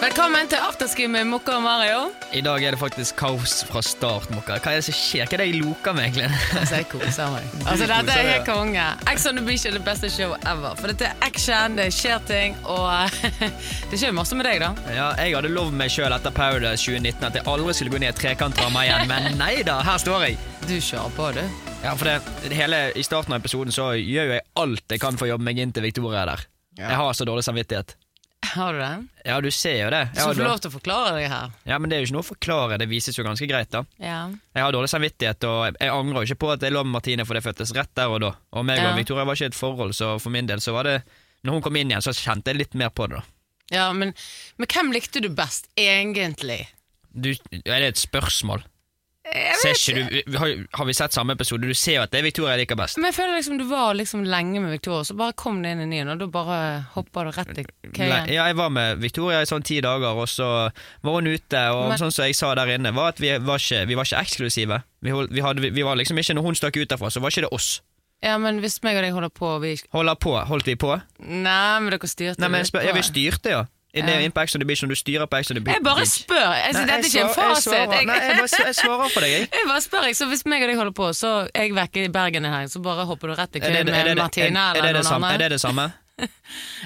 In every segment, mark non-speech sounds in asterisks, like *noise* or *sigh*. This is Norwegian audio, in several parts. Velkommen til afterskum med Mokka og Mario. I dag er det faktisk kaos fra start, Mokka. Hva er det som skjer? Hva er det jeg loker med, egentlig? *laughs* Altså, jeg koser meg. *laughs* Altså, Dette er helt konge. Ex on the Beach er det beste show ever. For dette er action, det skjer ting, og *laughs* det skjer masse med deg, da. Ja, jeg hadde lovd meg sjøl etter Paradise 2019 at jeg aldri skulle gå ned trekantramma igjen, *laughs* men nei da, her står jeg. Du kjører på, du. Ja, for det, det hele, I starten av episoden så gjør jo jeg alt jeg kan for å jobbe meg inn til Victoria der. Jeg har så dårlig samvittighet. Har du det? Ja, du ser jo det. Jeg Så har får du dårlig- lov til å forklare deg her. ja, Men det er jo ikke noe å forklare, det vises jo ganske greit, da. Ja. Jeg har dårlig samvittighet, og jeg angrer jo ikke på at jeg lå med Martine, for det fødtes rett der og da. Og meg Ja. og Victoria var ikke i et forhold, så for min del så var det Når hun kom inn igjen, så kjente jeg litt mer på det, da. ja men, men hvem likte du best, egentlig? du, Er det et spørsmål? Jeg Ser ikke du, har, har vi sett samme episode? Du ser jo at det er Victoria jeg liker best. Men jeg føler liksom du var liksom lenge med Victoria, så bare kom det inn en ny en, og da bare hoppa du rett i Nei, køyen. Ja, jeg var med Victoria i sånn ti dager, og så var hun ute. Og Men- sånn som jeg sa der inne, var at vi var ikke, vi var ikke eksklusive. Vi, hold, vi, hadde, vi var liksom ikke, Når hun stakk ut derfra, så var ikke det oss. Ja, men hvis meg og deg holder på, vi Holder på, Holdt vi på? Nei, men dere styrte Nei, men litt jeg spør, på ja, vi det. styrte, ja. Inn Ja. inn på Ex on the Beach, når du styrer på Ex on the Beach. Jeg bare spør. Jeg synes Nei, dette er ikke en svar- fasit. Jeg svarer, nei, Jeg, jeg, bare, s- jeg svarer for deg, *laughs* jeg. jeg bare spør, jeg. Så hvis meg og deg holder på, så er jeg vekke i Bergen her, så bare hopper du rett i Er det- køen er det- er med det- Martine er det eller det noen samme? Er andre. det det samme?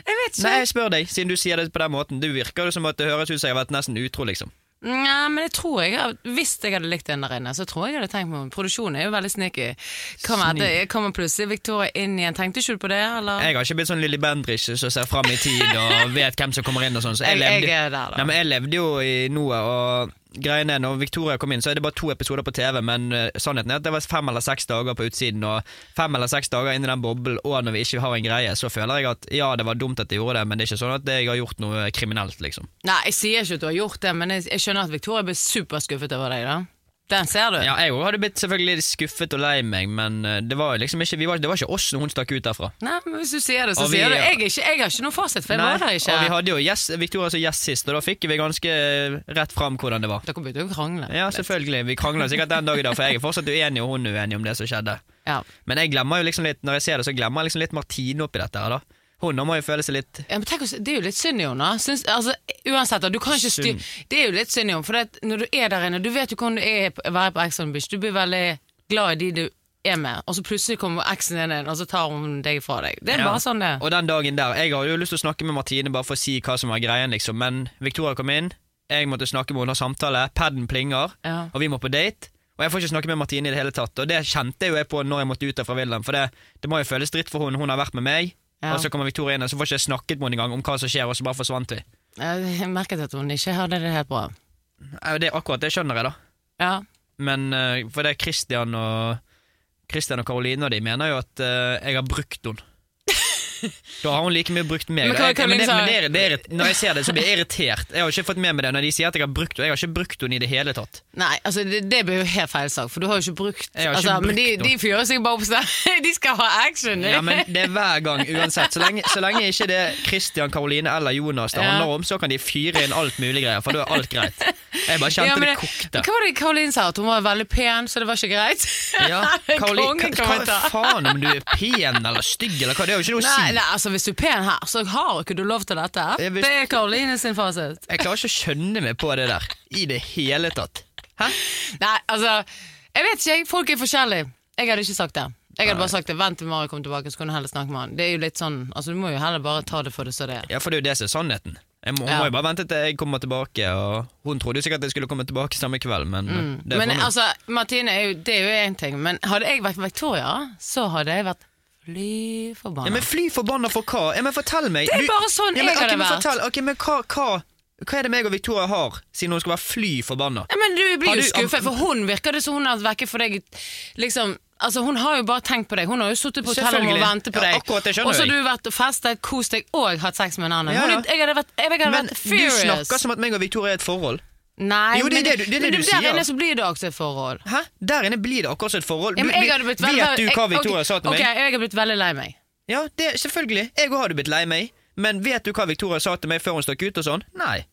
Jeg vet Nei, ikke. jeg spør deg, siden du sier det på den måten. Du virker jo som at det høres ut som jeg har vært nesten utro, liksom. Nei, men jeg tror jeg har- Hvis jeg hadde likt den der inne, så tror jeg jeg hadde tenkt meg om. Produksjonen er jo veldig sneaky. Kommer, Sneak. etter, kommer plutselig Victoria inn igjen. Tenkte ikke du på det, eller? Jeg har ikke blitt sånn Lilly Bendriss som ser fram i tid *laughs* og vet hvem som kommer inn og sånn. Så jeg, Jeg- levde, jeg er der, da. Nei, men jeg levde jo i noe, og greien er når Victoria kom inn, så er det bare to episoder på TV, men eh, sannheten er at det var fem eller seks dager på utsiden, og fem eller seks dager inni den boblen, og når vi ikke har en greie, så føler jeg at ja, det var dumt at jeg gjorde det, men det er ikke sånn at jeg har gjort noe kriminelt, liksom. Nei, jeg sier ikke at du har gjort det, men jeg, jeg skjønner at Victoria ble superskuffet over deg, da. Den ser du. Ja, jeg også hadde blitt selvfølgelig litt skuffet og lei meg, men eh, det var liksom ikke, vi var, det var ikke oss når hun stakk ut derfra. Nei, men Hvis du sier det, så Og vi- sier du. Jeg, er ikke, jeg har ikke noen fasit, for jeg var der ikke. og vi hadde jo gjest, Victoria som gjest sist, og da fikk vi ganske eh, rett fram hvordan det var. Dere begynte jo å krangle. Ja, selvfølgelig. Vi krangler sikkert den dag i dag, for jeg er fortsatt uenig og hun er uenig om det som skjedde. Ja. Men jeg glemmer jo liksom litt, når jeg ser det, så glemmer jeg liksom litt Martine oppi dette her, da. Hun nå må jo føle seg litt Ja, men tenk, å s- det er jo litt synd i henne. da. Syns- Altså, uansett, da, du kan ikke styre Synd. Det er jo litt synd i henne, for det at når du er der inne Du vet jo hvordan det er å være på Ex on the Beach. Du blir veldig glad i de du er med, og så plutselig kommer eksen din inn, og så tar hun deg fra deg. Det er Ja. bare sånn det er. Og den dagen der Jeg hadde jo lyst til å snakke med Martine bare for å si hva som var greien, liksom, men Victoria kom inn, jeg måtte snakke med henne, ha samtale, paden plinger, Ja. og vi må på date. Og jeg får ikke snakke med Martine i det hele tatt, og det kjente jo jeg på når jeg måtte ut derfra Wilhelm, for det, det må jo føles dritt for hun, hun har vært med meg, Ja. og så kommer Victoria inn, og så får ikke jeg snakket med henne engang om hva som skjer, og så bare forsvant vi. Jeg merket at hun ikke hadde det helt bra. Nei, Det er akkurat det skjønner jeg, da. Ja. Men eh, for det er Christian og Christian og Karoline og de mener jo at eh, jeg har brukt *laughs* henne. Da har hun like mye brukt meg. Men da. hva- Jeg- hva men det, liksom- men det er, det er, når jeg ser det, så blir jeg irritert. Jeg har ikke fått med meg det når de sier at jeg har brukt henne. Jeg har ikke brukt henne i det hele tatt. Nei, altså det, det blir jo helt feil sak, for du har jo ikke brukt, Jeg har ikke altså, Men de, brukt de fyrer seg bare opp sånn. *laughs* De skal ha action! de. Ja, men Det er hver gang, uansett. Så lenge, så lenge ikke det er Christian, Karoline eller Jonas det Ja. handler om, så kan de fyre inn alt mulig greier, for da er alt greit. Jeg bare kjente Ja, men det det- kokte. Hva var det Karoline sa? At hun var veldig pen, så det var ikke greit? Ja, *laughs* Karoline, hva, hva Kongekommentar. faen om du er pen eller stygg eller hva, det er jo ikke noe å si. Nei, nei, altså Hvis du er pen her, så har ikke du lov til dette. Jeg vil- Det er Karoline sin fasit. Jeg klarer ikke å skjønne meg på det der i det hele tatt. Hæ? Nei, altså Jeg vet ikke, jeg. folk er forskjellige. Jeg hadde ikke sagt det. Jeg hadde bare sagt det, Vent til Mario kommer tilbake, så kan du heller snakke med han. Det er jo litt sånn, altså Du må jo heller bare ta det for det som det er. Ja, for det er jo det som er sannheten. Jeg må, hun Ja. må jo bare vente til jeg kommer tilbake, og hun trodde jo sikkert jeg skulle komme tilbake samme kveld, men det Men får nå- altså, Martine, er jo, det er jo én ting, men hadde jeg vært Victoria, så hadde jeg vært fly ja, forbanna. men fly forbanna for hva? Ja, men fortell meg! Det er du- bare sånn ja, men, jeg hadde ok, men vært. Fortell, ok, men hva, hva, hva er det meg og Victoria har, siden hun skal være fly forbanna? Nei, men du Har blir jo du- skuffet, for hun virker det som hun har vært vekke for deg liksom Altså, Hun har jo bare tenkt på deg. Hun har jo sittet på hotellet og Selvfølgelig. ventet på Ja, deg. akkurat, det skjønner og så har du jeg. vært og festet, kost deg og hatt sex med en annen. Ja, ja. Hun er- Jeg hadde vært, jeg hadde Men vært du furious. snakker som at meg og Victoria er et forhold. Nei, Jo, det er men- det du- det er det men du sier. Der inne så blir det også et forhold. Hæ? Der inne blir det akkurat som et forhold. Ja, men Du- jeg hadde blitt vet veldig- du hva jeg- Victoria ok, sa til meg? Ok, jeg hadde blitt veldig lei meg. Ja, det, selvfølgelig. Jeg òg hadde blitt lei meg. Men vet du hva Victoria sa til meg før hun stakk ut og sånn? Nei.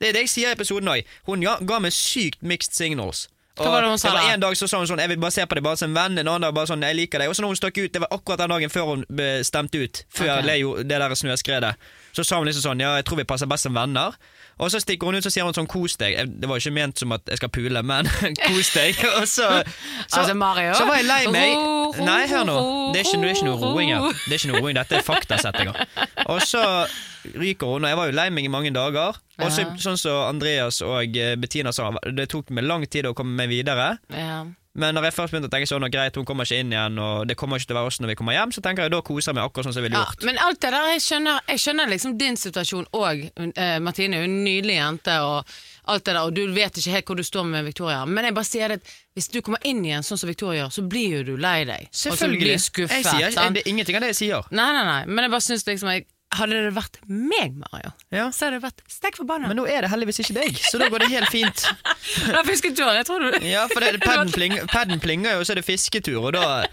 Det er det jeg sier i episoden òg. Hun ga, ga meg sykt mixed signals. Hva var det hun sa var da? En dag så sa hun sånn 'Jeg vil bare se på deg bare som en venn', en annen dag bare sånn 'Jeg liker deg'. Og så når hun stakk ut, det var akkurat den dagen før hun ble stemt ut, før Ok. Leo, det der snøskredet, så sa hun liksom sånn 'Ja, jeg tror vi passer best som venner'. Og så stikker hun ut så sier hun sånn 'Kos deg'. Jeg- Det var jo ikke ment som at jeg skal pule, men *laughs* kos deg. Og så, så altså, Mario. så var jeg lei meg. Ro, ro, Nei, hør nå. ro, Det er ikke, det er ikke noe ro, roing her. ro. Det er ikke noe roing, Dette er faktasettinger. Og så ryker hun, og jeg var jo lei meg i mange dager. Og så, Ja. sånn som Andreas og eh, Bettina sa, det tok meg lang tid å komme meg videre. Ja. Men når jeg først begynte å tenke sånn, og greit, hun kommer ikke inn igjen, og det kommer ikke til å være oss når vi kommer hjem, så tenker jeg da koser jeg meg akkurat sånn som jeg ville Ja, gjort. men alt det der, jeg skjønner, jeg skjønner liksom din situasjon òg. Eh, Martine er jo en nydelig jente, og alt det der, og du vet ikke helt hvor du står med Victoria. Men jeg bare sier det at hvis du kommer inn igjen sånn som Victoria gjør, så blir jo du lei deg. Selvfølgelig. Og så blir du Jeg skuffet. sier, ikke- sant? det er ingenting av det jeg sier. Nei, nei, nei, men jeg bare syns liksom jeg, Hadde det vært meg, Mario, Ja. så hadde jeg vært stekk forbanna. *laughs* Men nå er det heldigvis ikke deg, så da går det helt fint. Da fisketuren, jeg tror du *laughs* Ja, *laughs* for det- padden pling- padden plinger jo, og så er det fisketur, og da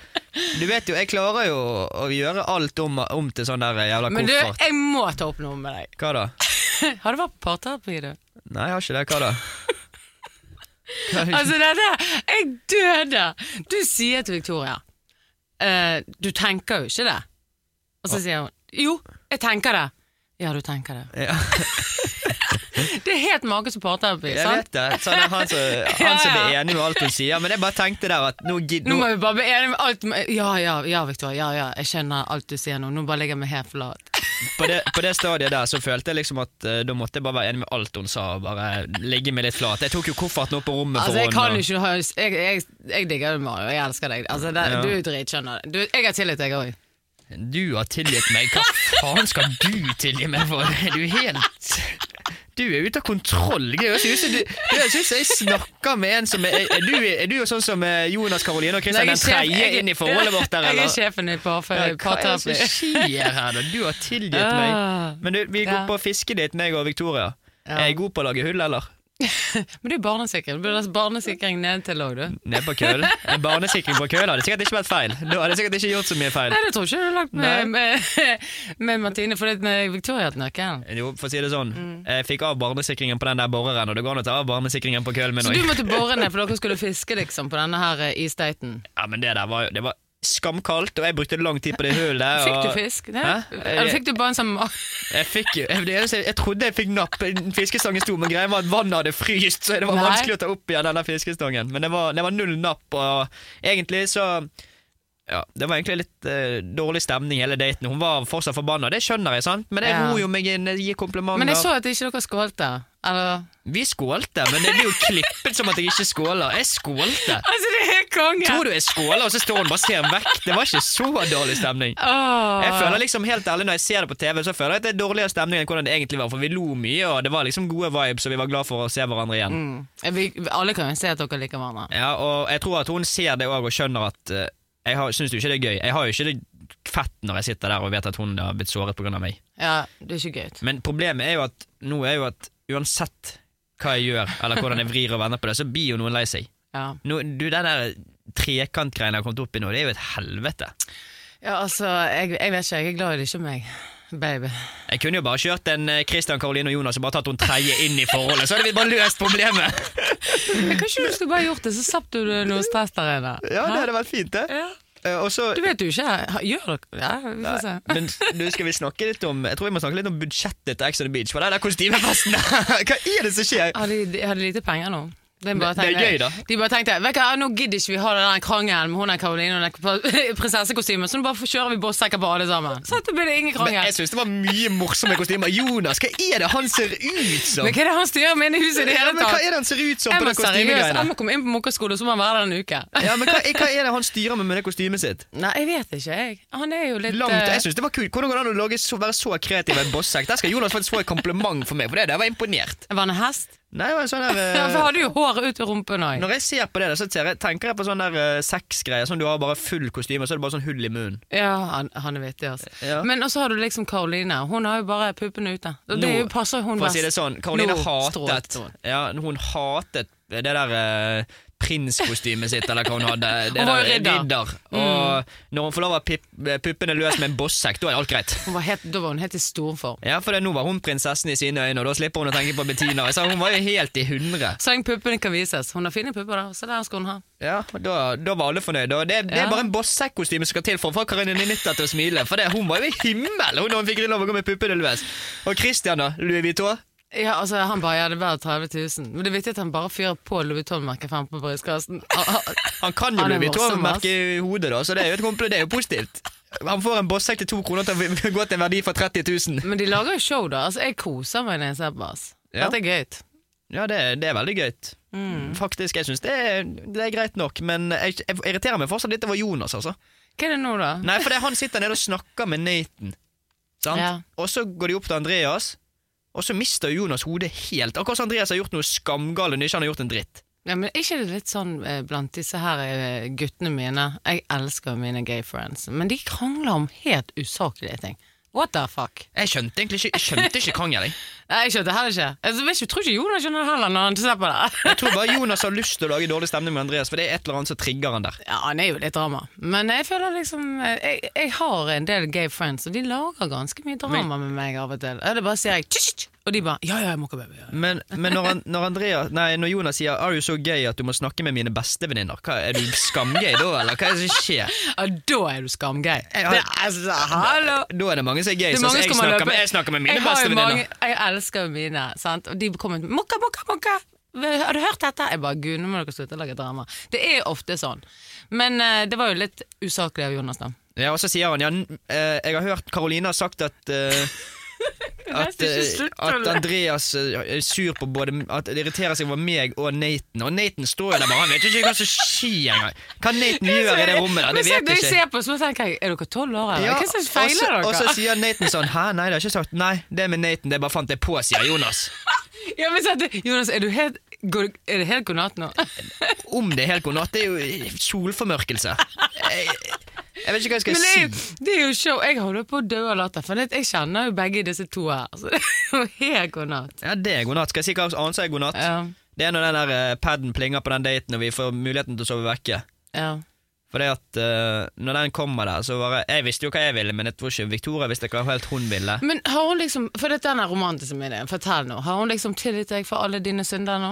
Du vet jo, jeg klarer jo å gjøre alt om, om til sånn der jævla Men du, koffert. jeg må ta opp noe med *laughs* deg. Hva da? Har du vært på parterapi, du? Nei, jeg har ikke det. Hva da? Altså, det der, jeg døde! Du sier til Victoria eh, Du tenker jo ikke det. Og så sier hun Jo, jeg tenker det. Ja, du tenker det. Ja, *laughs* Det er helt make som parterapi. jeg sant? vet det. Sånn, er *laughs* han som han Ja, som blir ja. enig med alt hun sier. Men jeg bare tenkte der at nå gid- Nå nå- må vi bare bli enige med alt med- Ja, ja, ja, Victoria. Ja, ja, jeg skjønner alt du sier nå. Nå bare ligger jeg meg helt flat. på, det, på det stadiet der så følte jeg liksom at eh, da måtte jeg bare være enig med alt hun sa. og Bare ligge meg litt flat. Jeg tok jo kofferten opp på rommet Altså, jeg for kan henne. jo ikke og- ha Jeg, jeg, jeg digger deg, Mario. Jeg elsker deg. Altså, det, Ja. Du er dritskjønner. Du, jeg har tillit, jeg òg. Du har tilgitt meg. Hva faen skal du tilgi meg for? Er du helt Du er ute av kontroll. Det høres ut som du- det høres ut som jeg snakker med en som er Er du, er du jo sånn som eh, Jonas Karoline og Christian den tredje inn i forholdet vårt der, *laughs* Jeg eller? er sjefen i Ja, parterapi. Hva er det som skjer her, da? Du har tilgitt Ah. meg. Men du, vi går Ja. på fiskedate, meg og Victoria. Ja. Er jeg god på å lage hull, eller? Men det er barnesikring. Du burde ha barnesikring nedentil òg, du. Ned på køl. En barnesikring på køl hadde sikkert ikke vært feil. Da hadde jeg sikkert ikke gjort så mye feil. Nei, det tror ikke jeg du har lagt Nei. med, med, med Martine, for det er Victoria til nøkkelen. Jo, for å si det sånn. Mm. Jeg fikk av barnesikringen på den der boreren, og det går an å ta av barnesikringen på kølen min Så òg. du måtte bore ned, for dere skulle fiske liksom på denne her eh, isdaten. Ja, men det der var jo Det var skamkaldt, og jeg brukte lang tid på det hullet. Fikk du og- fisk? Nei? Hæ? Eller fikk du bare en sånn Jeg, fikk jo jeg, jeg, jeg trodde jeg fikk napp. En Fiskestangen sto, men greia var at vannet hadde fryst, så det var Nei. vanskelig å ta opp igjen denne fiskestangen. Men det var, det var null napp, og egentlig så ja, Det var egentlig litt eh, dårlig stemning hele daten. Hun var fortsatt forbanna, det skjønner jeg, sant? men jeg Ja. ror jo meg inn, jeg gir komplimenter. Men jeg så at ikke dere skålte. Eller Vi skålte, men det blir jo klippet som at jeg ikke skåler. Jeg skålte. Altså, det er konge! Tror du jeg skåler, og så står hun bare og ser vekk? Det var ikke så dårlig stemning. Jeg føler liksom helt ærlig Når jeg ser det på TV, så føler jeg at det er dårligere stemning enn hvordan det egentlig var. For vi lo mye, og det var liksom gode vibes, og vi var glad for å se hverandre igjen. mm. vi, vi- Alle kan jo se at dere liker hverandre. Ja, Og jeg tror at hun ser det òg, og skjønner at eh, Jeg har- syns jo ikke det er gøy. Jeg har jo ikke det fett når jeg sitter der og vet at hun har blitt såret pga. meg. Ja, Det er ikke gøy. Men problemet er jo at nå er jo at uansett hva jeg gjør, eller hvordan jeg vrir og vender på det, så blir jo noen lei seg. Ja. Nå, du, Den der trekantgreiene jeg har kommet opp i nå, det er jo et helvete. ja, altså, jeg, jeg vet ikke. Jeg er glad i det ikke er meg, baby. Jeg kunne jo bare kjørt en eh, Christian, Karoline og Jonas og bare tatt hun tredje inn i forholdet, så hadde vi bare løst *laughs* problemet. Men Kanskje du skulle bare gjort det, så slapp du noe stress der inne. hadde vært fint, det. Eh, Ja. Og så Du altså. vet jo ikke. ha- Gjør dere Ja, vi får se. *laughs* Men du, skal vi snakke litt om Jeg tror vi må snakke litt om budsjettet til Ex on the Beach. For det der kostymefesten Hva er *laughs* det som skjer? Har de, de hadde lite penger nå. De bare Det- det er tenkte- gøy, da. De bare tenkte vet du hva, nå gidder ikke vi ha den der krangelen med hun der *laughs* Karoline og den pa- prinsessekostymen, så nå bare kjører vi båtsekker på alle sammen. Så det blir det ingen Men krangel. jeg syns det var mye morsomme kostymer. Jonas, hva er det han ser ut som? Men hva er det han styrer med inne i huset i det Ja, hele men hva tatt? er det han ser ut som Jeg på må det seriøst, jeg kostymegreiene? må komme inn på Mokkaskole, og så må han være der en uke. Ja, men hva, hva er det han styrer med med det kostymet sitt? *laughs* Nei, jeg vet ikke, jeg. Han er jo litt Langt, eh, jeg synes det var kult Hvordan går det an å lage så, være så kreativ i en bossekk? Der skal Jonas faktisk få et kompliment for meg, for det der var imponert. Var han en hest? Nei, det var en sånn der, *laughs* Ja, eh, for hadde jo håret ut ved rumpen òg. Når jeg ser på det, der, så ser jeg, tenker jeg på sånn der eh, sexgreier. Sånn du har bare full kostyme, og så er det bare sånn hull i munnen. Ja, han, han er vittig, altså. Ja. Men også har du liksom Karoline. Hun har jo bare puppene ute. Og det Nå, er jo- passer jo hun For å si best. det sånn, Karoline Nå hatet strålte hun. ja, Hun hatet det der eh, prinskostymet sitt, eller hva hun hadde. *laughs* Det Hun var jo der eh, ridder. Mm. Og når hun får lov av pip- eh, puppene løs med en bossekk, da er alt greit. Hun var helt, da var hun helt i storform. Ja, for det, nå var hun prinsessen i sine øyne, og da slipper hun å tenke på Bettina. Så hun var jo helt i hundre. Så lenge puppene kan vises. Hun har fine pupper, da. Så der skal hun ha. Ja, og da, da var alle fornøyde. Og det, det er Ja. bare en bossekkostyme som skal til for å få Karoline Nitta til å smile. For det, hun var jo i himmel hun, når hun fikk lov å gå med puppene løs. Og Christian, da? Louis Vuitton? Ja, altså, han bare, ja, det er bare 30 000. Men det er viktig at han bare fyrer på Louis Vuitton-merket frem på brystkassen. *laughs* Ah, ah. Han kan jo Han er Louis morsom, Vuitton-merke i hodet, da, så det er jo, et kompl- det er jo positivt. Han får en bossekk til to kroner til å gå til en verdi for 30 000. Men de lager jo show, da. Altså, jeg koser meg når jeg ser på oss. Ja. Dette er gøy. Ja, det, det er veldig gøy. Mm. Faktisk, jeg syns det, er- det er greit nok, men jeg, jeg irriterer meg fortsatt litt over Jonas, altså. Hva er det nå, da? Nei, for det, er han sitter nede og snakker med Nathan. Sant? Ja. Og så går de opp til Andreas, og så mister Jonas hodet helt. Akkurat som Andreas har gjort noe skamgale når ikke han har gjort en dritt. Ja, men er ikke det litt sånn eh, blant disse her eh, guttene mine? Jeg elsker jo mine gay friends, men de krangler om helt usaklige ting. What the fuck? Jeg skjønte egentlig ikke, jeg skjønte ikke krangel, jeg. Nei, jeg skjønte heller ikke. Jeg vet ikke, jeg tror ikke Jonas skjønner det heller når han ser på det. *laughs* Jeg tror bare Jonas har lyst til å lage dårlig stemning med Andreas, for det er et eller annet som trigger han der. Ja, han er jo litt drama. Men jeg føler liksom eh, Jeg, jeg har en del gay friends, og de lager ganske mye drama med meg av og til. Eller bare sier jeg «Tsk, tsk», og de bare Ja, ja, jeg må ikke baby. ja, ja». Men, men når, han, når, Andreas, nei, når Jonas sier 'er du så gay at du må snakke med mine bestevenninner', hva, er du skamgay da, eller hva er det som skjer? Ja, da er du skamgay. Jeg Det har- er altså, hallo! Da er det mange som er gay, Det er sånn som mange jeg som har snakker løpet- med, jeg snakker med mine Jeg har jo bestevenninner. mange- Jeg elsker jo mine, sant? og de kommer med 'mokka, mokka, mokka'. Har du hørt dette? Jeg bare gud, nå må dere slutte å lage drama. Det er jo ofte sånn. Men eh, det var jo litt usaklig av Jonas, da. Ja, og så sier han ja, n- eh, Jeg har hørt Karoline har sagt *laughs* at eh, At, nesten ikke eh, slutt å at le. Andreas eh, er sur på både At det irriterer seg over meg og Nathan. Og Nathan står jo der bare, han vet jo ikke hva som skjer engang. Hva Nathan gjør i det rommet der, det Men så- vet når jeg jeg ikke. ser på, så tenker jeg er dere tolv år, eller? Ja, Hva er det som feiler og så- dere? Og *laughs* så sier Nathan sånn Hæ, nei, det har jeg ikke sagt. Nei, det er med Nathan, det bare fant jeg på, sier Jonas. ja, men så, er det- Jonas, er, du helt, går, er det helt god natt nå? Om det er helt god natt, det er jo eh, solformørkelse. Jeg, jeg vet ikke hva jeg skal Men det er, si. jo- det er jo show. Jeg holder på å dø av latter, for det- jeg kjenner jo begge disse to her. Så det er jo helt god natt. Ja, det er god natt. Skal jeg si hva annet som er god natt? Ja, Det er når den der eh, padden plinger på den daten og vi får muligheten til å sove vekke. ja. For det at eh, når den kommer der, så bare Jeg visste jo hva jeg ville, men jeg tror ikke Victoria visste hva helt hun ville. Men har hun liksom For dette er den romantiske ideen, fortell nå. Har hun liksom tilgitt deg for alle dine synder nå?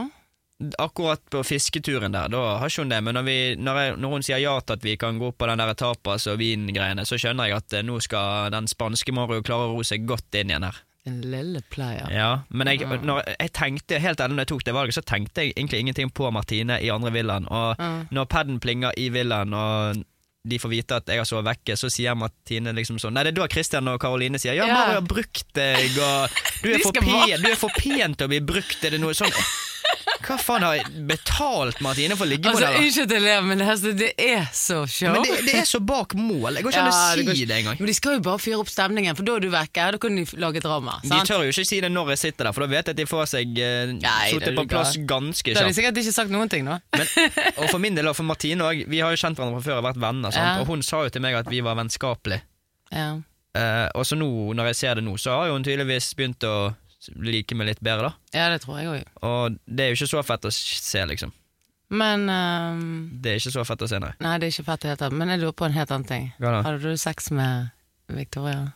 Akkurat på fisketuren der, da har ikke hun det, men når, vi, når, jeg, når hun sier ja til at vi kan gå på den der tapas og vingreiene, så skjønner jeg at eh, nå skal den spanske Mario klare å ro seg godt inn igjen her. En lille player. Ja, men jeg, når jeg tenkte helt ennå når jeg tok det valget, så tenkte jeg egentlig ingenting på Martine i andre villaen. Og når padden plinger i villaen, og de får vite at jeg har sovet vekke, så sier Martine liksom sånn Nei, det er da Christian og Karoline sier Ja, Ja. Mario har brukt deg, og du er, De for skal pen, du er for pen til å bli brukt, er det noe sånn Hva faen har jeg betalt Martine for å ligge på Altså, deg, da? Unnskyld at jeg ler, men det, her- det er så show. Men det, det er så bak mål. Jeg går ikke an Ja, å går si ikke- det engang. Men de skal jo bare fyre opp stemningen, for da er du vekke. Da kan de f- lage drama. De Sant? tør jo ikke si det når jeg sitter der, for da vet jeg at de får seg eh, Nei, det er sittet på du plass gal. Da ganske har kjapt. de sikkert ikke sagt noen ting nå. Men, og for min del og for Martine òg, vi har jo kjent hverandre fra før og vært venner. Sant? Ja. Og hun sa jo til meg at vi var vennskapelige. Ja. Eh, og så nå, når jeg ser det nå, så har jo hun tydeligvis begynt å like meg litt bedre, da. ja, det tror jeg òg. Og det er jo ikke så fett å se, liksom. Men ehm, Det er ikke så fett å se, nei. Nei, det er ikke fett i det hele tatt. Men jeg lurer på en helt annen ting. Hva da? Hadde du sex med Victoria?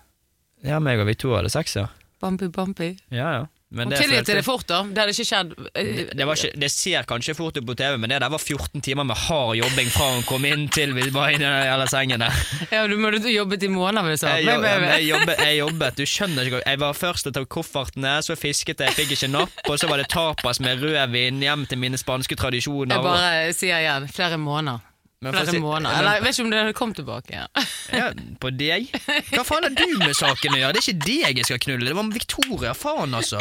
Ja, meg og Victoria hadde sex, ja. Bambi, Bambi. Ja, ja. Men Hun det, tilgir følte- til det fort, da. Det hadde ikke skjedd. eh, det, var ikke, det ser kanskje fort ut på TV, men det der var 14 timer med hard jobbing fra hun kom inn til eh, vi var inne i alle sengene. Ja, du måtte jobbet i måneder, vil du si. Jeg, Nei, jobb, nei, nei. jeg, jobbet, jeg jobbet, du skjønner ikke Jeg var først og tok koffertene, så fisket jeg, fikk ikke napp, og så var det tapas med rødvin hjem til mine spanske tradisjoner. Jeg bare sier igjen, flere måneder. Men for å flere si- måneder. men- Eller jeg vet ikke om det kom tilbake. Ja. *laughs* Ja, på deg? Hva faen har du med saken å gjøre? Det er ikke deg jeg skal knulle, det var med Victoria, faen altså.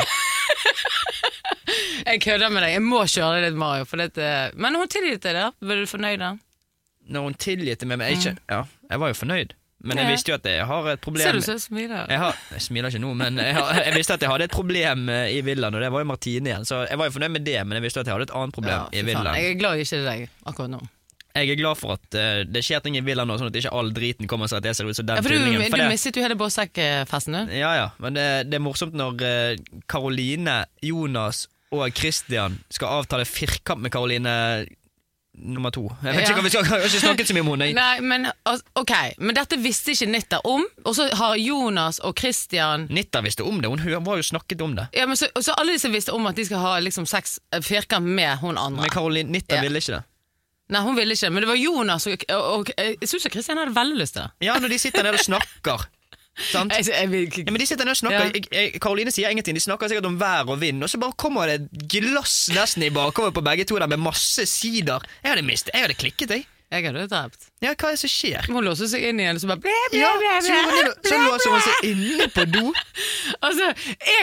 Jeg kødder med deg. Jeg må kjøre deg litt Mario. For dette. Men hun tilgitt deg det. Var du fornøyd da? Når hun tilgitt meg, men jeg, ikke, ja, jeg var jo fornøyd. Men jeg Ja. visste jo at jeg har et problem. Ser du så smiler? Jeg, har, jeg smiler ikke nå, men jeg, har, jeg visste at jeg hadde et problem eh, i villaen, og det var jo Martine igjen. Så jeg var jo fornøyd med det, men jeg visste at jeg hadde et annet problem Ja, fy i faen. villaen. Jeg er glad jeg ikke er deg akkurat nå. Jeg er glad for at eh, det skjer ting i villaen nå, sånn at ikke all driten kommer seg at jeg ser ut som den Ja, for du, tullingen. du det- mistet jo hele båssekkfesten, du. ja, ja, men det, det er morsomt når eh, Karoline, Jonas og Christian skal avtale firkamp med Karoline eh, nummer to. Jeg vet Ja. ikke hva vi skal, jeg har ikke snakket så mye om henne. *laughs* Nei, men al- ok, men dette visste ikke Nitta om, og så har Jonas og Christian Nitta visste om det, hun hø- var jo snakket om det. ja, men så, og så alle disse visste om at de skal ha liksom, sex eh, firkant med hun andre. Men Caroline Nitta Ja. ville ikke det. Nei, hun ville ikke, men det var Jonas og, og, og Jeg syns Christian hadde veldig lyst til det. Ja, når de sitter nede og *laughs* snakker. Sant? Jeg, jeg, vil- Ja, men de sitter nede og snakker Ja. jeg, jeg, Karoline sier ingenting, de snakker sikkert om vær og vind, og så bare kommer det et glass nesten i bakover på begge to der med masse sider. Jeg hadde mistet, jeg hadde klikket, jeg. jeg hadde jo drept. Ja, hva er det som skjer? Hun låste seg inn igjen, og så bare ble, ble, Ja, ble, så går hun inn og- så låser hun seg inne på do. Altså,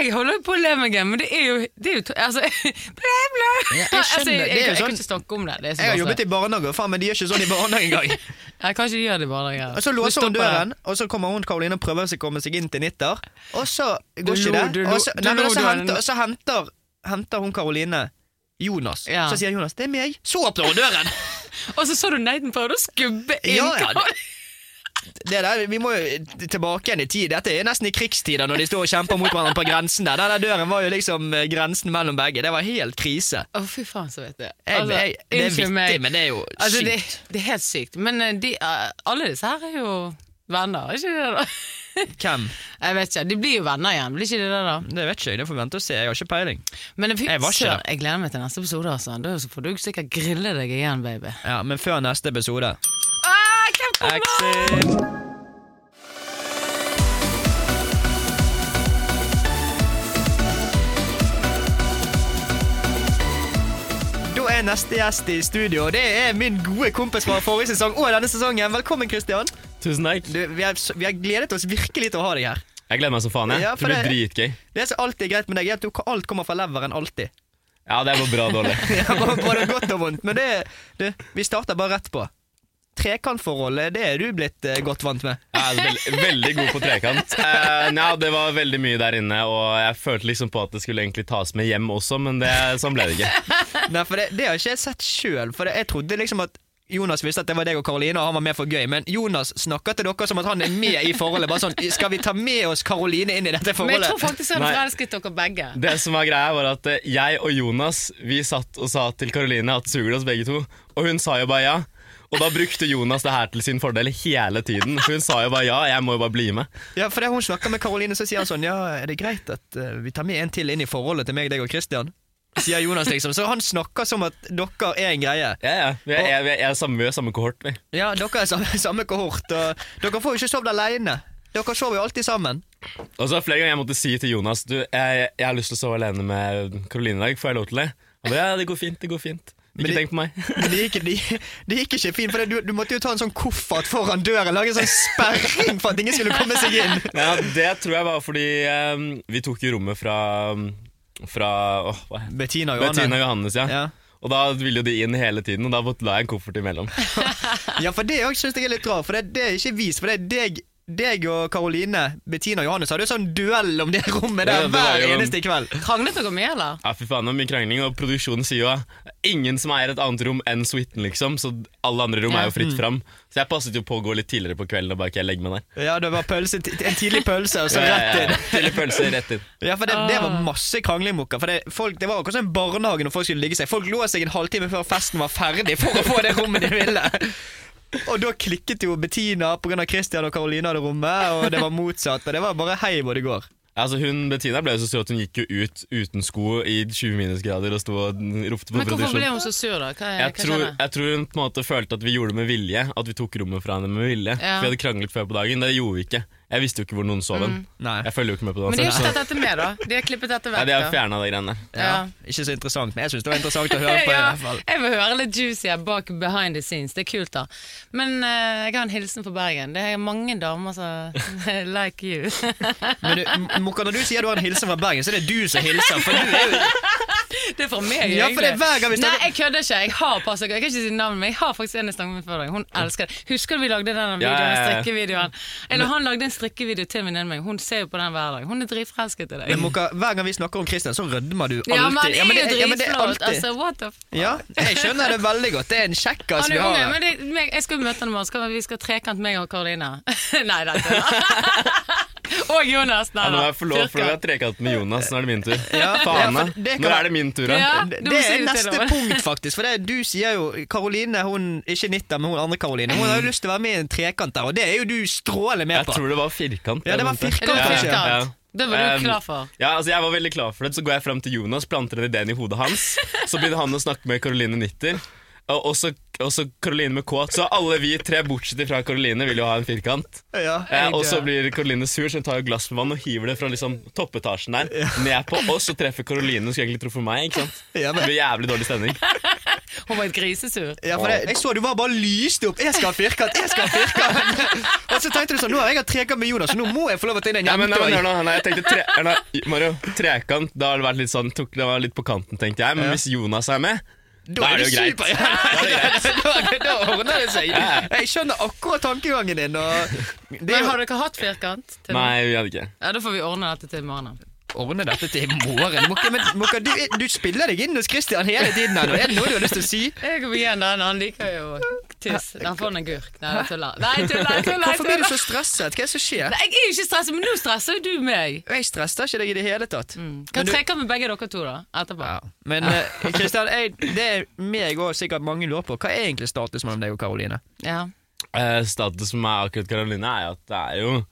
jeg holder jo på å le meg igjen, men det er jo, det er jo to- altså, *laughs* Ble, ble! Ja, jeg altså, skjønner. jeg, Det jeg, er jo jeg kan sånn- ikke snakke om det. det er så Jeg har bare jobbet i barnehage, og faen, men de gjør ikke sånn i barnehage engang. sånn. Nei, kanskje de gjør det i barnehager. Og så Du låser hun stopper det. døren, og så kommer hun Karoline og prøver seg å komme seg inn til Nitter, og så Du går ikke lo, det. du lo, Og så, du nei, men lo, så, du er en- henter, så henter, henter hun Karoline Jonas. Ja. Så sier Jonas 'det er meg'. Så åpner hun døren! Og så så du Neiden prøvde å skubbe inn. Ja, ja, det- Det der, Vi må jo tilbake igjen i tid. Dette er nesten i krigstider, når de står og kjemper mot hverandre på grensen der. Den der døren var jo liksom eh, grensen mellom begge. Det var helt krise. Å, fy faen, så vet jeg. Jeg, Altså, jeg, det er unnskyld vittig, meg. men det er jo Altså, det, sykt. det er helt sykt. Men eh, de, eh, alle disse her er jo venner, er ikke det? da? Hvem? Jeg vet ikke, De blir jo venner igjen, blir ikke de det? da? Det vet ikke jeg. Det får vi vente og se. Jeg har ikke peiling. Men fy Jeg var ikke søren, det. jeg gleder meg til neste episode. altså. Da får du sikkert grille deg igjen, baby. Ja, Men før neste episode Ah, klem på meg! Exit! Da er neste gjest i studio, og det er min gode kompis fra forrige sesong og denne sesongen. Velkommen, Christian. Tusen takk. Du, vi, har, vi har gledet oss virkelig til å ha deg her. Jeg gleder meg som faen. jeg. Ja, for Tror det blir dritgøy. Det som alltid er greit med deg, er at du, alt kommer fra leveren alltid. *laughs* Ja, det var bra dårlig. Ja, Både både godt og vondt. Men det, du, vi starter bare rett på. Trekantforholdet, det er du blitt eh, godt vant med. Jeg er veld, veldig god på trekant. Eh, ja, det var veldig mye der inne, og jeg følte liksom på at det skulle egentlig tas med hjem også, men det, sånn ble det ikke. Nei, for det, det har ikke jeg sett sjøl. For det, jeg trodde liksom at Jonas visste at det var deg og Karoline, og han var med for gøy. Men Jonas snakker til dere som at han er med i forholdet. Bare sånn, Skal vi ta med oss Karoline inn i dette Men jeg forholdet? tror faktisk jeg hadde Nei. forelsket dere begge. Det som var greia, var at eh, jeg og Jonas Vi satt og sa til Karoline at suger det oss begge to, og hun sa jo bare ja. Og da brukte Jonas det her til sin fordel hele tiden. For hun sa jo bare ja, jeg må jo bare bli med. Ja, for det Hun snakker med Karoline, så sier han sånn Ja, er det greit at eh, vi tar med en til inn i forholdet til meg, deg og Christian? Sier Jonas, liksom. Så han snakker som at dere er en greie. Ja, ja. Vi er, vi er, vi er samme, vi er samme kohort, vi. Ja, dere er samme, samme kohort, og dere får jo ikke sovet aleine. Dere sover jo alltid sammen. Og så flere ganger jeg måtte si til Jonas Du, jeg, jeg har lyst til å sove alene med Karoline i dag, får jeg lov til det? Han ba, ja, det går fint, det går fint. Men Ikke det- tenk på meg. *laughs* Men det gikk, det, det gikk ikke fint, for det, du, du måtte jo ta en sånn koffert foran døren. Lage en sånn sperring for at ingen skulle komme seg inn. Ja, det tror jeg var fordi eh, vi tok jo rommet fra, fra åh, hva heter det? Bettina og Johanne. Bettina og Johannes, ja. Ja. Og da ville jo de inn hele tiden, og da måtte la jeg en koffert imellom. ja, for det òg syns jeg er litt rart, for det, det er ikke vist. For det er deg, deg og Karoline, Bettina og Johannes hadde jo sånn duell om det rommet Ja, der det var hver jo- eneste kveld. Kranglet dere mye, eller? Ja, fy faen, det var mye krangling, og produksjonen sier jo at ingen som eier et annet rom enn suiten, liksom, så alle andre rom er jo Mm. fritt fram. Så jeg passet jo på å gå litt tidligere på kvelden og bare ikke legge meg der. Ja, det var pølse, en tidlig pølse, og så Ja, ja, rett *laughs* ja. inn. Tidlig pølse, rett inn. Ja, for det, det var masse kranglemukker. For det, folk, det var akkurat som en barnehage når folk skulle ligge seg. Folk lå seg en halvtime før festen var ferdig for å få det rommet de ville. Og da klikket jo Bettina pga. Christian og Karoline hadde rommet, og det var motsatt. Og det var bare hei hvor det går. Altså hun, Bettina ble jo så sur at hun gikk jo ut uten sko i 20 minusgrader og sto og ropte på Men hvorfor ble produksjonen. hun så sur, da? Hva, Jeg hva tror, skjedde? jeg tror hun på en måte følte at vi gjorde det med vilje. At vi tok rommet fra henne med vilje. Ja. For vi hadde kranglet før på dagen. Det gjorde vi ikke. Jeg visste jo ikke hvor noen sov hen. Nei. Jeg følger jo ikke med på det Mm. Men de har ikke uansett. tatt dette med, da. De har klippet dette sånn- Nei, vekk. de har da. fjerna de greiene der. Ja. Ikke så interessant, men jeg syns det var interessant å høre på. *laughs* i Ja, hvert fall jeg vil høre litt juicy her bak behind the scenes. Det er kult, da. Men eh, jeg har en hilsen for Bergen. Det er mange damer som *laughs* like you. Men du, M- Mokka, når du sier du har en hilsen fra Bergen, så er det du som hilser. For du er jo det er fra meg, Ja, for det er egentlig. hver gang vi Nei, snakker- jeg kødder ikke. Jeg har passet, jeg kan ikke si navnet, men jeg har faktisk en jeg snakket med før deg. Hun elsker det. Husker du vi lagde den videoen, Ja, ja, ja. strikkevideoen? Eller han lagde en strikkevideo til min venninne meg. Hun ser jo på den hver dag. Hun er dritforelsket i Men deg. Mokka, hver gang vi snakker om Christian, så rødmer du alltid. Ja, men han er jo det- ja, men det er dritflott. alltid- Altså, what the f... Ja, jeg skjønner det veldig godt. Det er en kjekkas Han Altså, vi er har unge, her. men det, *laughs* meg- jeg skal jo møte han i morgen. Skal vi- Vi skal trekant meg og Karoline. Nei, det er ikke det. *laughs* Og Jonas. Nei, Ja, nå da. er jeg forlovet, for vi har Cirka. trekant med Jonas. Nå er det min tur. Ja, Faen, ja, for det kan- Når er det min tur, da? Ja, Det du må det si er det til neste dem. punkt, faktisk. For det, du sier jo Karoline, hun ikke Nitta, men hun andre Karoline. Hun har jo lyst til å være med i en trekant der, og det er jo du stråler med Jeg på. tror det var firkant. Ja, det var firkant, Det var kanskje. firkant. Ja, ja. Det var du Um, klar for. Ja, altså jeg var veldig klar for det Så går jeg frem til Jonas, planter en ideen i hodet hans Så begynner han å snakke med Caroline Nitter Og også, også Caroline med K Så alle vi tre, bortsett fra Caroline, vil jo ha en firkant Ja, eh, jeg Og så dør. blir Caroline sur, så hun tar et glass med vann Og hiver det fra liksom toppetasjen der Ned på oss, og treffer Caroline Som egentlig treffer meg, ikke sant? Ja, Det men, blir jævlig dårlig stemning Hun var et grisesur. ja, for det, jeg så du var bare lyste opp. 'Jeg skal ha firkant, jeg skal ha *laughs* firkant'. og så tenkte du sånn 'Nå har jeg hatt trekant med Jonas, så nå må jeg få lov til å ta inn en Nei, men, nei, men jente'. hør nå, nei, jeg tenkte tre, hør nå, Mario, trekant, da har det vært litt sånn tok, Det var litt på kanten, tenkte jeg Men Ja. hvis Jonas er med Da Da er det jo greit. super. Ja, *laughs* da, da ordner det seg. Jeg skjønner akkurat tankegangen din. Og det Men å har dere hatt firkant? Til Nei, vi hadde ikke Ja, Da får vi ordne dette til i morgen. ordne dette til i morgen Må ikke- men, må ikke- du, du spiller deg inn hos Christian hele tiden. her nå. Er det noe du har lyst til å si? Jeg går igjen den, han liker jo tiss. Han får en gurk. Nei, jeg tuller. Nei, jeg *laughs* tuller, jeg tuller, jeg Hvorfor blir du tuller. så stresset? Hva er det som skjer? Nei, Jeg er jo ikke stresset, men nå stresser jo du meg. Jeg stresser ikke deg i det hele tatt. Kan Men du- trekke med begge dere to da, etterpå. Ja. Men eh, Kristian, jeg- det er meg og sikkert mange lurer på. Hva er egentlig status mellom deg og Karoline? Ja. Eh, status med akkurat Karoline er jo at det er jo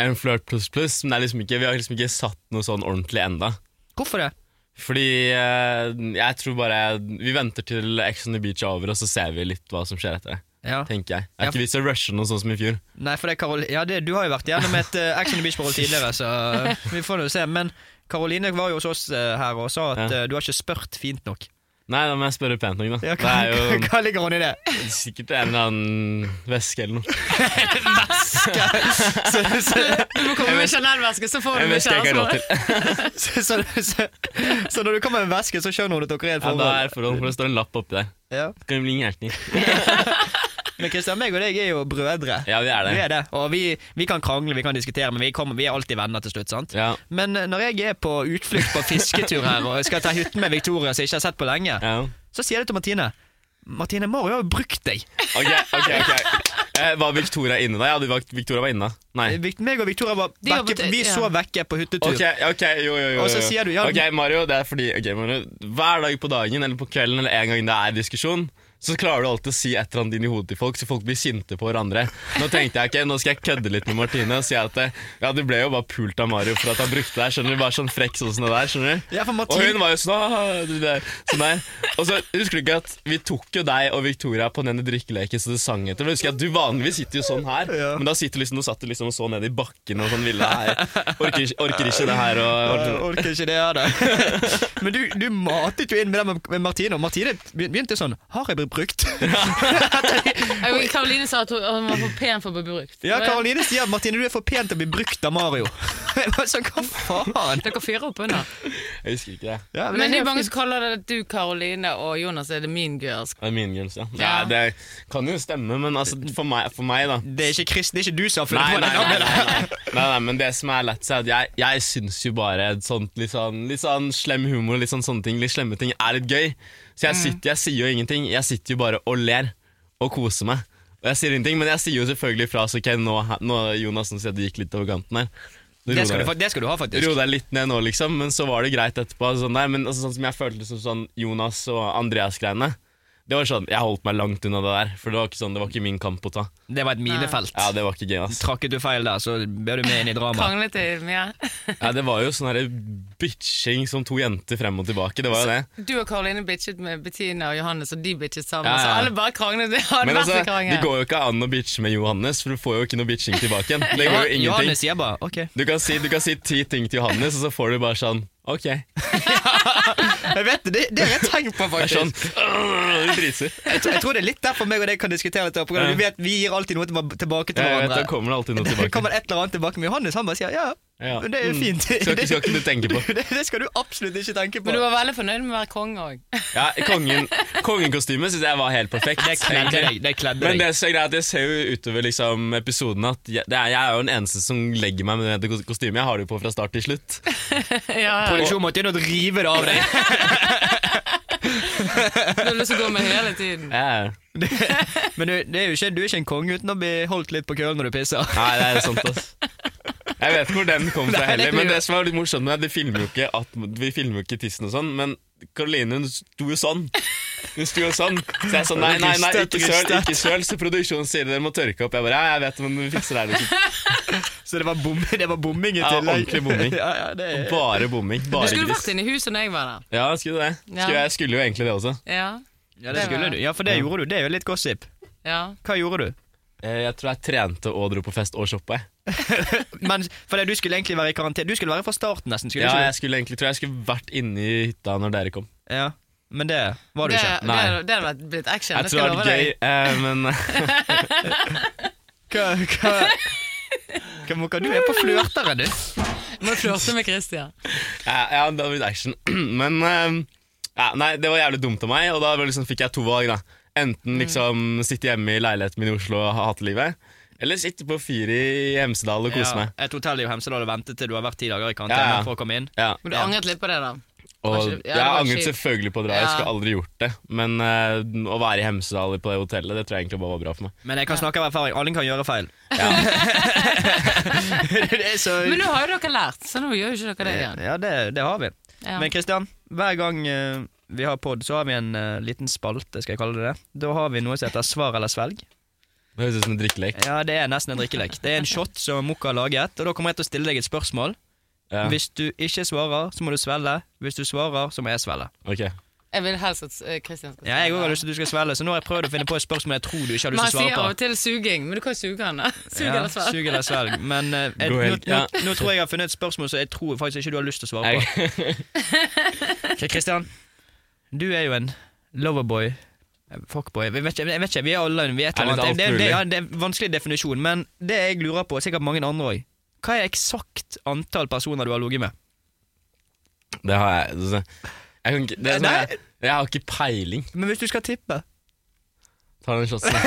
en flørt pluss pluss, men det er liksom ikke, vi har liksom ikke satt noe sånn ordentlig enda. Hvorfor det? Fordi eh, jeg tror bare vi venter til Ex on the Beach er over, og så ser vi litt hva som skjer etter det. Ja, Tenker jeg. Ja. Er ikke vits i å rushe noe sånn som i fjor. Nei, for det er Karol ja det, du har jo vært gjennom et uh, Action *laughs* Beach-forhold tidligere, så eh, vi får nå se. Men Karoline var jo hos oss eh, her og sa at Ja. eh, du har ikke spurt fint nok. Nei, da må jeg spørre pent nok, da. Ja, Det hva, *laughs* er hva ligger hun i det? jo sikkert en eller annen veske eller noe. Så, så, Du må komme med Chanel-veske, så får du En med veske jeg ikke har råd kjæresten. altså? til. så, så, så, så når du kommer med en veske, så skjønner hun at dere er i et Ja, da forhold. er forhold, for det står en lapp oppi der. Ja. Skal vi bli hjertelig? Men Kristian, meg og deg er jo brødre. Ja, vi er Vi det. er det, og vi, vi kan krangle, vi kan diskutere, men vi, kommer, vi er alltid venner til slutt. sant? Ja. Men eh, når jeg er på utflukt på fisketur her og skal ta hytten med Victoria, som jeg ikke har sett på lenge, ja. så sier jeg til Martine Martine, Mario har jo brukt deg. Ok, ok, ok. Eh, var Victoria inne da? Ja, du var, Victoria var inne da. Nei. Vic- Eh, Meg og Victoria var De var på vekke, tur, vi ja. så vekke på hyttetur. Ok, ok, jo, jo, jo. Og så jo. sier du, ja, Ok, Mario, det er fordi ok, Mario, Hver dag på dagen eller på kvelden eller en gang det er diskusjon, så klarer du alltid å si et eller annet inn i hodet til folk, så folk blir sinte på hverandre. Nå tenkte jeg, ok, nå skal jeg kødde litt med Martine og si at eh, ja, du ble jo bare pult av Mario for at han brukte deg, skjønner du? Bare sånn frekk sånn som det der, skjønner du? Ja, for Og Martine, hun var jo sånn, «Ah, du der», sånn der. Og så husker du ikke at vi tok jo deg og Victoria på denne drikkeleken så det sang etter. Men husker jeg at du vanligvis sitter jo sånn her, Ja. men da sitter du liksom, nå satt du liksom så ned i bakken og sånn ville her. Orker, ikke- orker ikke det her og Jeg orker ikke det *laughs* her, da. Men du, du matet jo inn med det med- med Martine, og Martine begynte sånn Har jeg blitt brukt? Og Karoline sa at hun hun var for pen for å bli brukt. Ja, Karoline sier at Martine, du er for pen til å bli brukt av Mario. *laughs* Jeg var sånn, hva faen? Dere fyrer opp under. Jeg husker ikke det. Ja, Men det er helt jo mange fint. som kaller det at du, Karoline, og Jonas er det min girls. Det er mine girls, ja. Ja. Nei, det kan jo stemme, men altså, for meg, for meg da. det er ikke Kristen, det er ikke du som har Nei funnet på nei nei, det nei, navnet. nei, *laughs* nei, nei, men det som er lett seg, er at jeg, jeg syns jo bare et sånt litt sånn, litt sånn slem humor, litt sånn sånne ting, litt slemme ting, er litt gøy. Så Mm. jeg, sitter, jeg sier jo ingenting, jeg sitter jo bare og ler og koser meg. Og jeg sier ingenting, men jeg sier jo selvfølgelig fra, så ok, nå, nå Jonas, nå sier jeg at det gikk litt over kanten her. Nå Det roer skal, du, jeg- fa- det skal du ha, faktisk. Ro deg litt ned nå, liksom. Men så var det greit etterpå. Sånn der. Men altså, sånn som jeg følte som sånn Jonas og Andreas-greiene Det var sånn, Jeg holdt meg langt unna det der, for det var ikke sånn, det var ikke min kamp å ta. Det var et minefelt. Ja, Det var ikke gøy, ass. Trakket du feil der, så ble du med inn i dramaet. Kranglet de mye? Ja, det var jo sånn her bitching som to jenter frem og tilbake. Det var jo det. Du og Karoline bitchet med Bettina og Johannes, og de bitchet sammen. Ja, ja. Så alle bare kranglet. Det var den Men altså, verste krangel. det går jo ikke an å bitche med Johannes, for du får jo ikke noe bitching tilbake igjen. Det *laughs* går jo Johanne ingenting. sier bare ok. Du kan, si, du kan si ti ting til Johannes, og så får du bare sånn OK. Det Jeg vet det, det, det har jeg tenkt på, er *laughs* sånn *laughs* øh, Dritsur. Jeg, tror- jeg tror det er litt derfor meg og deg kan diskutere dette. på grunn av at Vi vet, vi gir alltid noe tilba- tilbake til Jeg vet, Da hverandre. kommer det alltid noe Det tilbake. kommer et eller annet tilbake med Johannes. Han bare sier ja, Ja. men det er jo Mm. fint. Skal ikke, skal ikke du tenke på. Det, det, det skal du absolutt ikke tenke på. Men du var veldig fornøyd med å være konge òg. Ja, kongen, kongenkostymet synes jeg var helt perfekt. egentlig. det kledde Men det som er greit, jeg ser jo utover liksom, episoden at jeg, det er, jeg er jo den eneste som legger meg med det kos- kostymet. Jeg har det jo på fra start til slutt. ja, ja. Produksjonen måtte inn og rive det av deg. Du har lyst til å gå med hele tiden. Jeg, Men du, det er jo ikke, du er ikke en konge uten å bli holdt litt på kølen når du pisser. *laughs* nei, det er sant, ass. Jeg vet ikke hvor den kom Nei, fra det heller, tror men jeg. det som var litt morsomt med det, de filmer jo ikke, at, vi filmer jo ikke tissen og sånn, men Karoline hun sto jo sånn. Hun sto jo sånn. Så jeg sa nei, nei, nei, ikke søl, ikke søl. Så produksjonen sier dere må tørke opp. Jeg bare ja, jeg vet, men vi fikser det her. *laughs* liksom. Så det var, bom, det var bomming i Ja, tillegg. ordentlig bomming. *laughs* ja, ja, det er... Bare bomming. Du Bare skulle gris. vært inne i huset når jeg var der. Ja, skulle det. Ja. Skulle, jeg skulle jo egentlig det også. Ja, ja, det skulle du. Ja, for det gjorde du. Det er jo litt gossip. ja. Hva gjorde du? Eh, Jeg tror jeg trente og dro på fest og shoppa. jeg. Men for det, Du skulle egentlig være i karantene. Du skulle være fra starten, nesten. skulle Ja, du ikke? jeg skulle egentlig, tror jeg skulle vært inne i hytta når dere kom. du? Ja. Men det var du Det, ikke. det, Nei. det hadde vært- blitt action. Jeg det tror skal jeg det love var gøy, deg. eh, men Hva, hva, hva, Moka, du er på flørteren, du. Må flørte med *laughs* Christian. Ja, ja det hadde blitt action. *clears throat* Men eh, ja, Nei, det var jævlig dumt av meg, og da var det liksom, fikk jeg to valg. da Enten Mm. liksom sitte hjemme i leiligheten min i Oslo og hate livet, eller sitte på Fyri i Hemsedal og kose Ja, meg. Et hotell i Hemsedal og vente til du har vært ti dager i karantene Ja, ja. for å komme inn. Ja, Men du angret litt på det, da? og Kanskje- ja, det Jeg var angret kjipt. selvfølgelig på å dra, jeg Ja. skulle aldri gjort det. Men eh, å være i Hemsedal på det hotellet, det tror jeg egentlig bare var bra for meg. Men jeg kan snakke av erfaring. Alle kan gjøre feil. *laughs* det er så Men nå har jo dere lært, så nå gjør jo ikke dere det igjen. Ja, det, det har vi. Ja. Men Kristian, hver gang eh, vi har pod, så har vi en eh, liten spalte, skal jeg kalle det det. Da har vi noe som heter svar eller svelg. Det høres ut som en drikkelek. Ja, det er nesten en drikkelek. Det er en shot som Mokka har laget, og da kommer jeg til å stille deg et spørsmål. Ja, Hvis du ikke svarer, så må du svelge. Hvis du svarer, så må jeg svelge. ok Jeg vil helst at eh, Christian skal Ja, jeg òg har lyst til at du skal svelge, så nå har jeg prøvd å finne på et spørsmål jeg tror du ikke har Men lyst han til sier å av og svare på. til suging, men du kan jo suge han. da. *laughs* Suge Ja, eller svelg. sug eller svelg. Men eh, jeg, Gå nå, helt- nå, ja. nå tror jeg jeg har funnet et spørsmål som jeg tror faktisk ikke du har lyst til å svare på. Ok, Kristian, du er jo en loverboy. eh, Fuckboy. Jeg vet, ikke, jeg vet ikke, vi er alle vi er et Er eller litt annet. Det, alt det, mulig. ja, det er en vanskelig definisjon, men det jeg lurer på, og sikkert mange andre òg, hva er eksakt antall personer du har ligget med? *laughs* Det har jeg altså, Jeg, kan ikke, det er sånn, Nei. jeg, jeg har ikke peiling. Men hvis du skal tippe *laughs* Ta *laughs* den shotsen.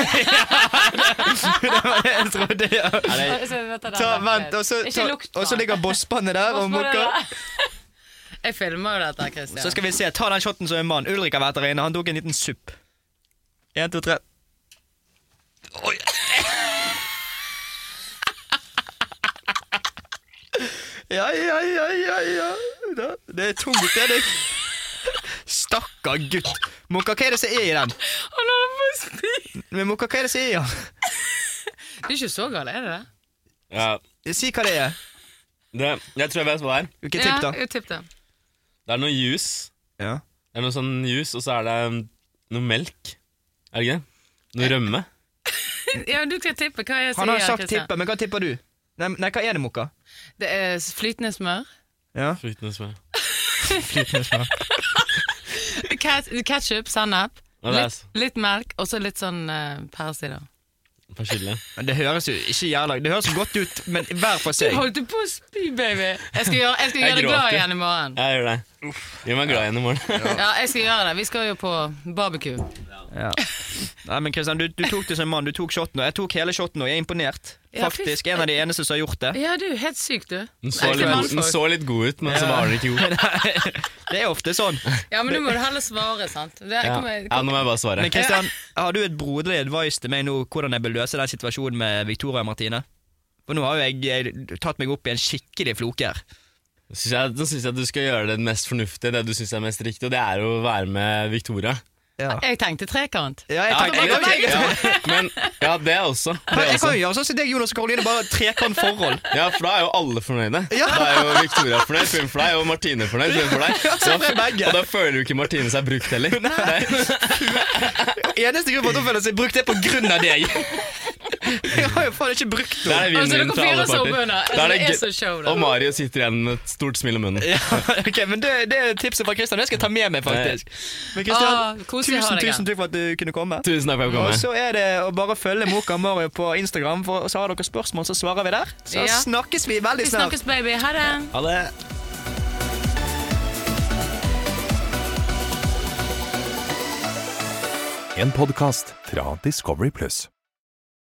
Jeg tror det, ja. Er det, Så vi vet at det Ta, er vent, og så, Ikke ta, lukt på og så han. ligger bosspannet der, og Bosspannet mokker. *laughs* Jeg filmer jo dette, Christian. Så skal vi se, ta den shotten som en mann. Ulrik har vært der inne, han tok en liten supp. En, to, tre. Oi. *laughs* Ja, ja, ja, ja, ja. Da, Det er tungt, det er det. Stakkar gutt. Mokka, hva er det som er i den? Han holder på å spy! Men Mokka, hva er det som er i den? Det er ikke så galt, er det det? ja, Si hva det er. det, jeg tror jeg vet hva det er. Ikke tipp, da. Ja, jo, tipp det. Det er noe juice. Ja. Det er noe sånn juice, og så er det um, noe melk. Er det ikke det? Noe rømme. Ja, du skal tippe hva jeg sier. Han har sagt Christian. tippet, men hva tipper du? Nei, nei hva er det, Mokka? Det er flytende smør. Ja. Flytende smør. Ketsjup, sennep. Ja, det er Litt, så- litt melk, og så litt sånn uh, persille. Persille. Men Det høres jo ikke jævla Det høres godt ut, men hver for Du seg. holdt på å spy, baby! Jeg skal gjøre, jeg skal Jeg gjøre deg glad gråter. igjen i morgen. Jeg gjør det. Gjør meg glad igjen i morgen. Ja, jeg skal gjøre det. Vi skal jo på barbecue. Ja. Nei, men Kristian, du, du tok det som en mann. Du tok shoten, og jeg tok hele shoten, og jeg er imponert. Ja, Faktisk fy- en av de eneste som har gjort det. Ja, du er helt syk, du. Den så, Nei, litt ikke god, den mannfolk. så litt god ut, men så var den ikke god. *laughs* Det er ofte sånn. Ja, men nå må du heller svare, sant? Det, Ja. kommer, ja, nå må jeg bare svare. Men Kristian, har du et broderlig advice til meg nå hvordan jeg bør løse den situasjonen med Victoria og Martine? For nå har jo jeg, jeg tatt meg opp i en skikkelig floke her. Synes jeg, nå syns jeg du skal gjøre det mest fornuftige, det du syns er mest riktig, og det er å være med Victoria. Ja. Jeg tenkte trekant. Ja, jeg, tenkte, jeg, ja, kan- jeg, ja, men ja, det også. Det jeg også. kan jo gjøre sånn som deg, Jonas og Karoline, bare trekant forhold. Ja, for da er jo alle fornøyde. Ja. Da er jo Victoria fornøyd, hun for deg, og Martine fornøyd, hun for deg. Så er vi begge. og da føler jo ikke Martine seg brukt heller. Nei. Eneste grunn for at hun føler seg brukt, er på grunn av deg. Jeg har jo faen ikke brukt Da henne. er det Altså, vinn-vinn dere for alle fire så parter. bønner. Da Altså, det er gøy- så show, da. Og Mario sitter igjen med et stort smil om munnen. *laughs* Ja, ok, men det, det er tipset fra Kristian. Det skal jeg ta med meg, faktisk. Men Åh, Kristian, koselig å ha tusen, deg her. tusen takk for at du kunne komme. Tusen takk for at jeg Og kom. eh. så er det å bare følge Moka og Mario på Instagram, for så har dere spørsmål, så svarer vi der. Så Ja. snakkes vi veldig Vi snart. snakkes, baby. Ha det. Ha det. En podkast fra Discovery Pluss.